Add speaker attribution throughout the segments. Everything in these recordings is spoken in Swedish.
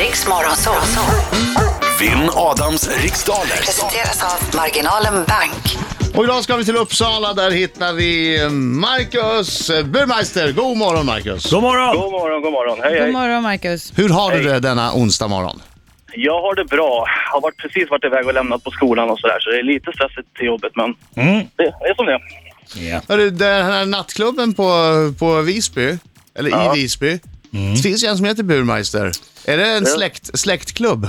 Speaker 1: Riks Morgonzoo.
Speaker 2: Vinn Adams riksdaler.
Speaker 1: Presenteras av Marginalen Bank.
Speaker 3: Och idag ska vi till Uppsala, där hittar vi eh, Marcus Burmeister. God morgon Marcus!
Speaker 4: God morgon!
Speaker 5: God morgon, god morgon. Hej,
Speaker 6: God
Speaker 5: hej.
Speaker 6: morgon Marcus.
Speaker 3: Hur har du det denna onsdag morgon?
Speaker 5: Jag har det bra. Jag har varit, precis varit iväg och lämnat på skolan och sådär, så det är lite stressigt till jobbet, men det är som det är.
Speaker 3: Hörru, Den här nattklubben på, på Visby, eller
Speaker 5: Ja.
Speaker 3: i Visby, det finns ju en som heter Burmeister. Är det en släkt, släktklubb?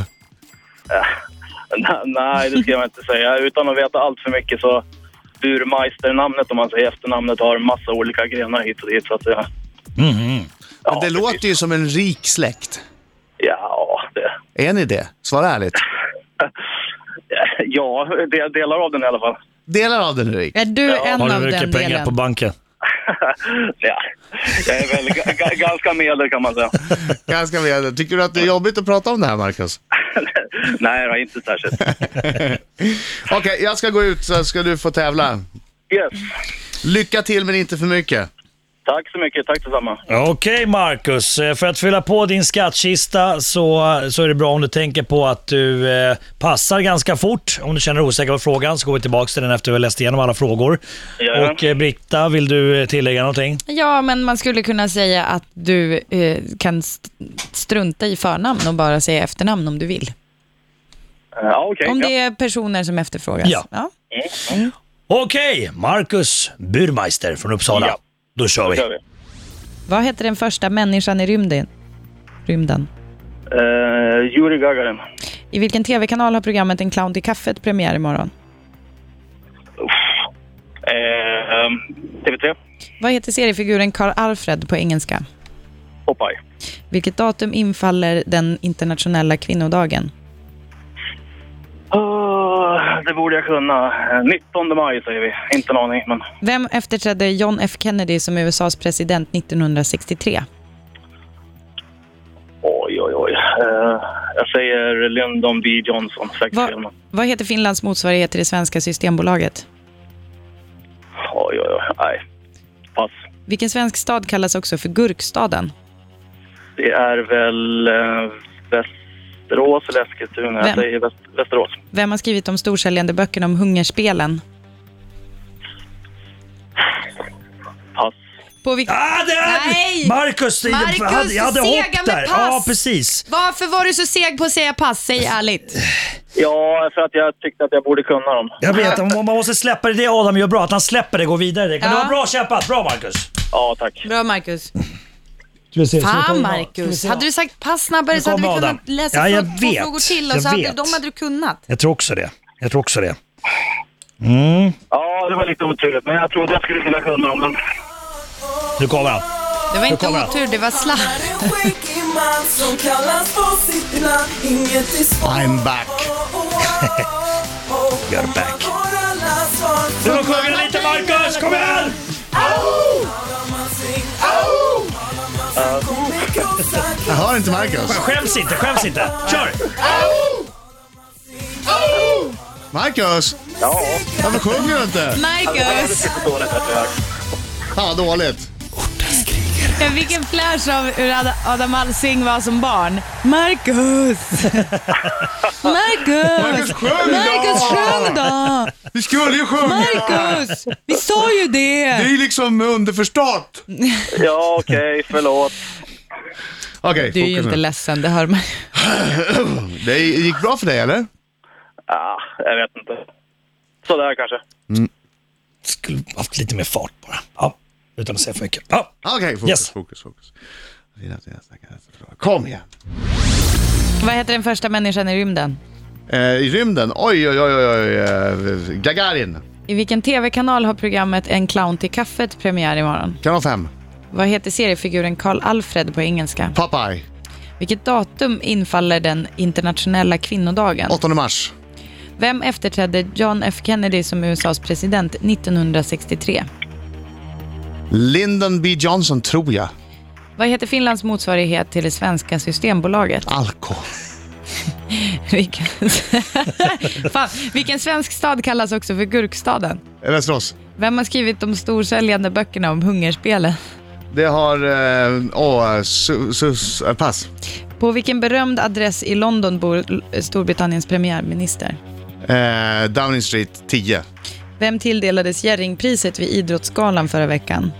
Speaker 5: N- Nej, det ska jag inte säga. Utan att veta allt för mycket så Burmeister-namnet, om man säger efternamnet, har massa olika grenar hit och dit, så att det... Ja,
Speaker 3: det
Speaker 5: precis.
Speaker 3: låter ju som en rik släkt.
Speaker 5: Ja, det...
Speaker 3: Är ni det? Svara ärligt.
Speaker 5: Ja, det delar av den i alla fall.
Speaker 3: Delar av den är rik.
Speaker 6: Är du en
Speaker 4: Har
Speaker 6: av
Speaker 4: du
Speaker 6: den
Speaker 4: mycket pengar
Speaker 6: delen?
Speaker 4: på banken?
Speaker 5: Ja, jag är väl g- g- ganska medel kan man säga.
Speaker 3: Ganska väl. Tycker du att det är jobbigt att prata om det här Marcus?
Speaker 5: Nej, det var inte särskilt.
Speaker 3: Okej, jag ska gå ut så ska du få tävla.
Speaker 5: Yes.
Speaker 3: Lycka till men inte för mycket.
Speaker 5: Tack så mycket. Tack detsamma.
Speaker 4: Okej Marcus, Eh, för att fylla på din skattkista så, så är det bra om du tänker på att du eh, passar ganska fort. Om du känner dig osäker på frågan så går vi tillbaka till den efter vi har läst igenom alla frågor.
Speaker 5: Jajamän.
Speaker 4: Och eh, Britta, vill du eh, tillägga någonting?
Speaker 6: Ja, men man skulle kunna säga att du eh, kan st- strunta i förnamn och bara säga efternamn om du vill.
Speaker 5: Ja, okej.
Speaker 6: Om
Speaker 5: Ja.
Speaker 6: det är personer som efterfrågas.
Speaker 4: Ja. Okej, Marcus Burmeister från Uppsala.
Speaker 5: Ja.
Speaker 4: Då kör vi.
Speaker 5: kör vi.
Speaker 6: Vad heter den första människan i rymden? rymden?
Speaker 5: Eh, Yuri Gagarin.
Speaker 6: I vilken tv-kanal har programmet En clown till kaffet premiär imorgon?
Speaker 5: Eh, ehm, TV3.
Speaker 6: Vad heter seriefiguren Karl Alfred på engelska?
Speaker 5: Popeye.
Speaker 6: Vilket datum infaller den internationella kvinnodagen?
Speaker 5: Ah, det borde jag kunna. Eh, 19 maj säger vi. Inte en aning, men...
Speaker 6: Vem efterträdde John F Kennedy som USAs president 1963?
Speaker 5: Oj, oj, oj. Eh, jag säger Lyndon B. Johnson. Säkert fel,
Speaker 6: Va,
Speaker 5: men-
Speaker 6: vad heter Finlands motsvarighet till det svenska systembolaget?
Speaker 5: Oj, oj, oj. Nej. Pass.
Speaker 6: Vilken svensk stad kallas också för Gurkstaden?
Speaker 5: Det är väl eh, Västerås eller Eskilstuna.
Speaker 6: Vem?
Speaker 5: Jag säger väst, Västerås.
Speaker 6: Vem har skrivit de storsäljande böckerna om hungerspelen?
Speaker 5: Pass.
Speaker 6: På vilk-
Speaker 4: Ah, det är...
Speaker 6: Nej!
Speaker 4: Marcus, det-
Speaker 6: Marcus,
Speaker 4: jag hade, jag hade
Speaker 6: sega
Speaker 4: hopp
Speaker 6: med
Speaker 4: där.
Speaker 6: pass.
Speaker 4: Ja, precis.
Speaker 6: Varför var du så seg på att säga pass? Säg ärligt.
Speaker 5: Ja, för att jag tyckte att jag borde kunna dem.
Speaker 4: Jag vet, om- om man måste släppa det. Det Adam gör bra, att han släpper det och går vidare. Men
Speaker 6: Ja.
Speaker 4: det var bra kämpat. Bra Marcus.
Speaker 5: Ja, tack.
Speaker 6: Bra, Marcus. Fan, Marcus. Hade du sagt pass snabbare så
Speaker 4: Nu
Speaker 6: hade vi
Speaker 4: kommer
Speaker 6: kunnat
Speaker 4: Adam.
Speaker 6: läsa
Speaker 4: Ja, jag
Speaker 6: från- två
Speaker 4: vet.
Speaker 6: frågor till
Speaker 4: Jag
Speaker 6: och så hade,
Speaker 4: vet.
Speaker 6: de hade du kunnat.
Speaker 4: Jag tror också det. Jag tror också det.
Speaker 5: Ja, det var lite oturligt, men jag trodde jag skulle kunna kunna dem. Men...
Speaker 4: Nu kommer han.
Speaker 6: Det var inte
Speaker 4: kommer han.
Speaker 6: otur, det var slapp.
Speaker 7: Han är en skäggig man som kallas på sitt namn Inget är svårt Oh,
Speaker 3: I'm back.
Speaker 4: You're back. Du får sjunga lite Marcus, kom igen!
Speaker 3: Jag hör inte Marcus.
Speaker 4: Skäms inte, skäms inte. Kör!
Speaker 3: Marcus!
Speaker 5: Ja,
Speaker 3: Varför sjunger du inte?
Speaker 6: Marcus,
Speaker 5: lite dåligt här tyvärr.
Speaker 3: Fan, dåligt.
Speaker 6: vilken flash av hur Ad- Adam Alsing var som barn. Marcus! Marcus!
Speaker 3: Marcus, sjung
Speaker 6: Marcus, sjung då!
Speaker 3: Vi skulle ju sjunga!
Speaker 6: Marcus! Vi sa ju
Speaker 3: Det är
Speaker 6: det!
Speaker 3: ju liksom underförstått.
Speaker 5: Ja, okej, förlåt.
Speaker 3: Okej,
Speaker 6: Du är ju
Speaker 3: fokus
Speaker 6: inte
Speaker 3: nu.
Speaker 6: ledsen, det hör man.
Speaker 3: Det gick bra för dig eller?
Speaker 5: Ah, jag vet inte. Sådär kanske.
Speaker 4: Skulle haft lite mer fart bara. Ja, utan att säga för mycket. Ja.
Speaker 3: Okej, fokus,
Speaker 4: Yes.
Speaker 3: fokus, fokus. Kom igen.
Speaker 6: Vad heter den första människan i rymden?
Speaker 3: Eh, I rymden, oj oj oj oj, oj. eh, Gagarin.
Speaker 6: I vilken tv-kanal har programmet En clown till kaffet premiär imorgon?
Speaker 3: Kanal 5.
Speaker 6: Vad heter seriefiguren Karl Alfred på engelska?
Speaker 3: Popeye.
Speaker 6: Vilket datum infaller den internationella kvinnodagen?
Speaker 3: 8 mars.
Speaker 6: Vem efterträdde John F Kennedy som USAs president 1963?
Speaker 3: Lyndon B Johnson tror jag.
Speaker 6: Vad heter Finlands motsvarighet till det svenska Systembolaget?
Speaker 3: Alko.
Speaker 6: Vilken, Fan, vilken svensk stad kallas också för Gurkstaden?
Speaker 3: Eh, Västerås.
Speaker 6: Vem har skrivit de storsäljande böckerna om hungerspelen?
Speaker 3: Det har... eh, Åh, su, su, su, pass.
Speaker 6: På vilken berömd adress i London bor L- Storbritanniens premiärminister?
Speaker 3: Eh, Downing Street 10.
Speaker 6: Vem tilldelades Jerringpriset vid Idrottsgalan förra veckan?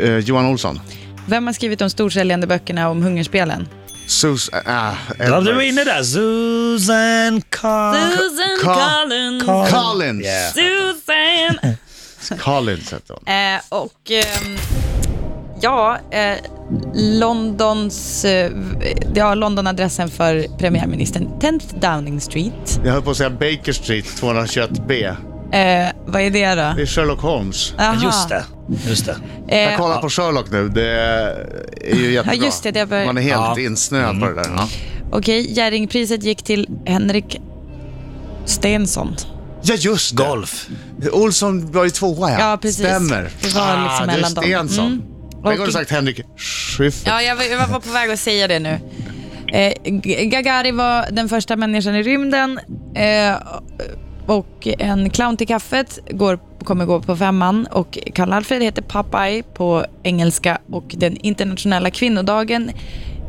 Speaker 3: Eh, Johan Olsson.
Speaker 6: Vem har skrivit de storsäljande böckerna om hungerspelen?
Speaker 3: Sus... Ah,
Speaker 4: Ja,
Speaker 3: Edwards.
Speaker 4: du var inne där. Susan Carr.
Speaker 8: Susan
Speaker 3: Ka-
Speaker 8: Collins.
Speaker 4: Collins.
Speaker 3: Collins.
Speaker 4: Yeah.
Speaker 8: Susan.
Speaker 3: Collins hette hon.
Speaker 6: Eh, och ehm, ja, eh, Londons, eh, v- ja, Londonadressen för premiärministern, 10th Downing Street.
Speaker 3: Jag höll på att säga Baker Street 221B.
Speaker 6: Eh, vad är det då?
Speaker 3: Det är Sherlock Holmes.
Speaker 6: Aha.
Speaker 4: Just det. Just det.
Speaker 3: Jag
Speaker 6: Eh,
Speaker 3: kollar på Sherlock nu. Det är ju jättebra.
Speaker 6: Ja, just det, det bör-
Speaker 3: Man är helt
Speaker 4: Ja. Mm.
Speaker 3: insnöad på det där. Ja.
Speaker 6: Okej, Jerringpriset gick till Henrik Stensson.
Speaker 3: Ja, just det.
Speaker 4: Golf.
Speaker 3: Olsson var ju tvåa, ja.
Speaker 6: Ja, precis.
Speaker 3: Stämmer. Ah, det är
Speaker 6: Det var liksom mellan dem.
Speaker 3: Stensson.
Speaker 6: Mm.
Speaker 3: Tänk om
Speaker 6: Och-
Speaker 3: du sagt Henrik Schyffert.
Speaker 6: Ja, jag var, jag var på väg att säga det nu. Eh, G- Gagari var den första människan i rymden eh, och en clown till kaffet går, kommer gå på femman och Karl-Alfred heter Popeye på engelska och den internationella kvinnodagen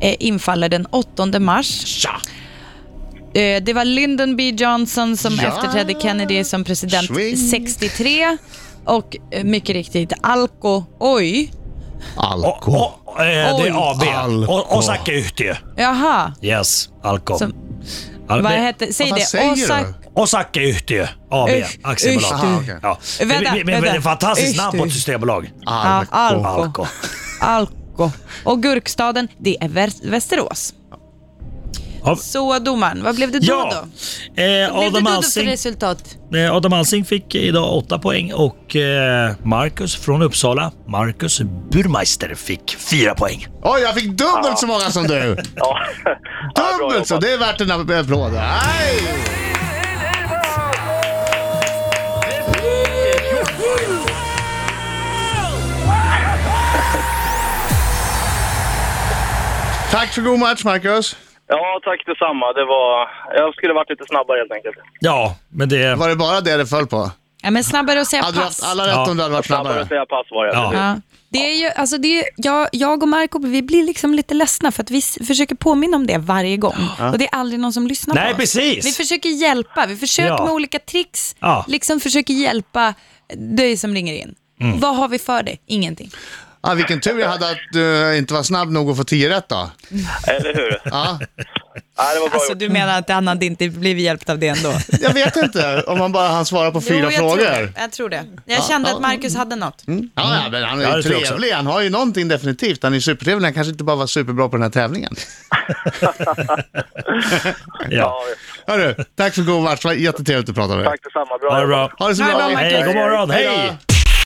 Speaker 6: eh, infaller den 8 mars. Eh, det var Lyndon B Johnson som
Speaker 3: Ja.
Speaker 6: efterträdde Kennedy som president
Speaker 3: Swing.
Speaker 6: 63 och eh, mycket riktigt Alko Oj.
Speaker 3: Alko.
Speaker 4: O- o- eh, det
Speaker 6: Oj.
Speaker 4: är AB.
Speaker 3: Alko.
Speaker 4: O- Osaka Yhtiö.
Speaker 6: Jaha.
Speaker 4: Yes, Alko.
Speaker 6: Som-
Speaker 4: Al-
Speaker 6: Vad
Speaker 4: det-
Speaker 6: hette, säg
Speaker 3: Vad
Speaker 6: det.
Speaker 3: säger du?
Speaker 6: Osak-
Speaker 4: Osaka Yhtiö AB,
Speaker 6: Usch,
Speaker 4: aktiebolag.
Speaker 6: usch,
Speaker 3: Aha, okej.
Speaker 4: Ja. Det,
Speaker 6: Eh, Vänta,
Speaker 4: det, det, det är
Speaker 6: vänta.
Speaker 4: ett fantastiskt
Speaker 6: Usch,
Speaker 4: namn på
Speaker 6: du.
Speaker 4: ett systembolag.
Speaker 6: Ja,
Speaker 3: Alko.
Speaker 6: Alko.
Speaker 4: Alko.
Speaker 6: Alko. Och Gurkstaden, det är Vä- Västerås.
Speaker 4: Ja.
Speaker 6: Så domaren, vad blev det då?
Speaker 4: Ja, eh,
Speaker 6: då? Vad blev
Speaker 4: Adam
Speaker 6: det då för
Speaker 4: Alsing
Speaker 6: resultat?
Speaker 4: Eh, Adam Alsing fick idag 8 poäng och eh, Marcus från Uppsala, Marcus Burmeister, fick 4 poäng.
Speaker 3: Oj, jag fick dubbelt så många som du.
Speaker 5: Ja. Ja, bra
Speaker 3: Dubbelt så.
Speaker 5: jobbat.
Speaker 3: Det är värt en applåd. Nej! Tack för god match, Marcus.
Speaker 5: Ja, tack detsamma. Det var... Jag skulle varit lite snabbare helt enkelt.
Speaker 4: Ja, men det...
Speaker 3: Var det bara det det föll på?
Speaker 6: Ja, men snabbare att säga
Speaker 3: Hade du haft
Speaker 6: pass.
Speaker 3: alla rätt
Speaker 4: Ja.
Speaker 3: om du hade varit
Speaker 5: Snabbare
Speaker 3: snabbare?
Speaker 5: att säga pass var jag.
Speaker 4: Ja.
Speaker 6: Ja.
Speaker 8: Det är ju, alltså det är, jag, jag och Marco vi blir liksom lite ledsna för att vi s- försöker påminna om det varje gång. Och det är aldrig någon som lyssnar på
Speaker 4: Nej,
Speaker 8: oss. Vi
Speaker 4: precis!
Speaker 8: försöker hjälpa, vi försöker
Speaker 4: Ja.
Speaker 8: med olika tricks,
Speaker 4: Ja.
Speaker 8: liksom försöker hjälpa dig som ringer in.
Speaker 4: Mm.
Speaker 8: Vad har vi för dig? Ingenting.
Speaker 3: Ah, vilken tur jag hade att du inte var snabb nog att få 10 rätt då.
Speaker 5: Eller hur?
Speaker 3: Ja,
Speaker 5: Nej, det var bra
Speaker 6: Alltså,
Speaker 5: gjort.
Speaker 6: du menar att han hade inte blivit hjälpt av det ändå?
Speaker 3: jag vet inte om man bara hann svara på fyra
Speaker 6: Jo, jag Tror
Speaker 3: frågor.
Speaker 6: det. Jag tror det. Jag kände att Marcus hade något.
Speaker 3: Ja, ja, men han
Speaker 4: Ja,
Speaker 3: är ju
Speaker 4: det tror jag också.
Speaker 3: trevlig. Han har ju någonting definitivt. Han är supertrevlig. Han kanske inte bara var superbra på den här tävlingen.
Speaker 4: Ja.
Speaker 3: Hörru, tack för god match. Det var jättetrevligt att prata med dig.
Speaker 5: Tack detsamma. Bra
Speaker 4: Ha det
Speaker 5: jobbat.
Speaker 4: bra.
Speaker 3: Ha det så bra.
Speaker 6: bra, Marcus.
Speaker 4: Hej, god morgon,
Speaker 3: Hej
Speaker 4: hej!
Speaker 3: då.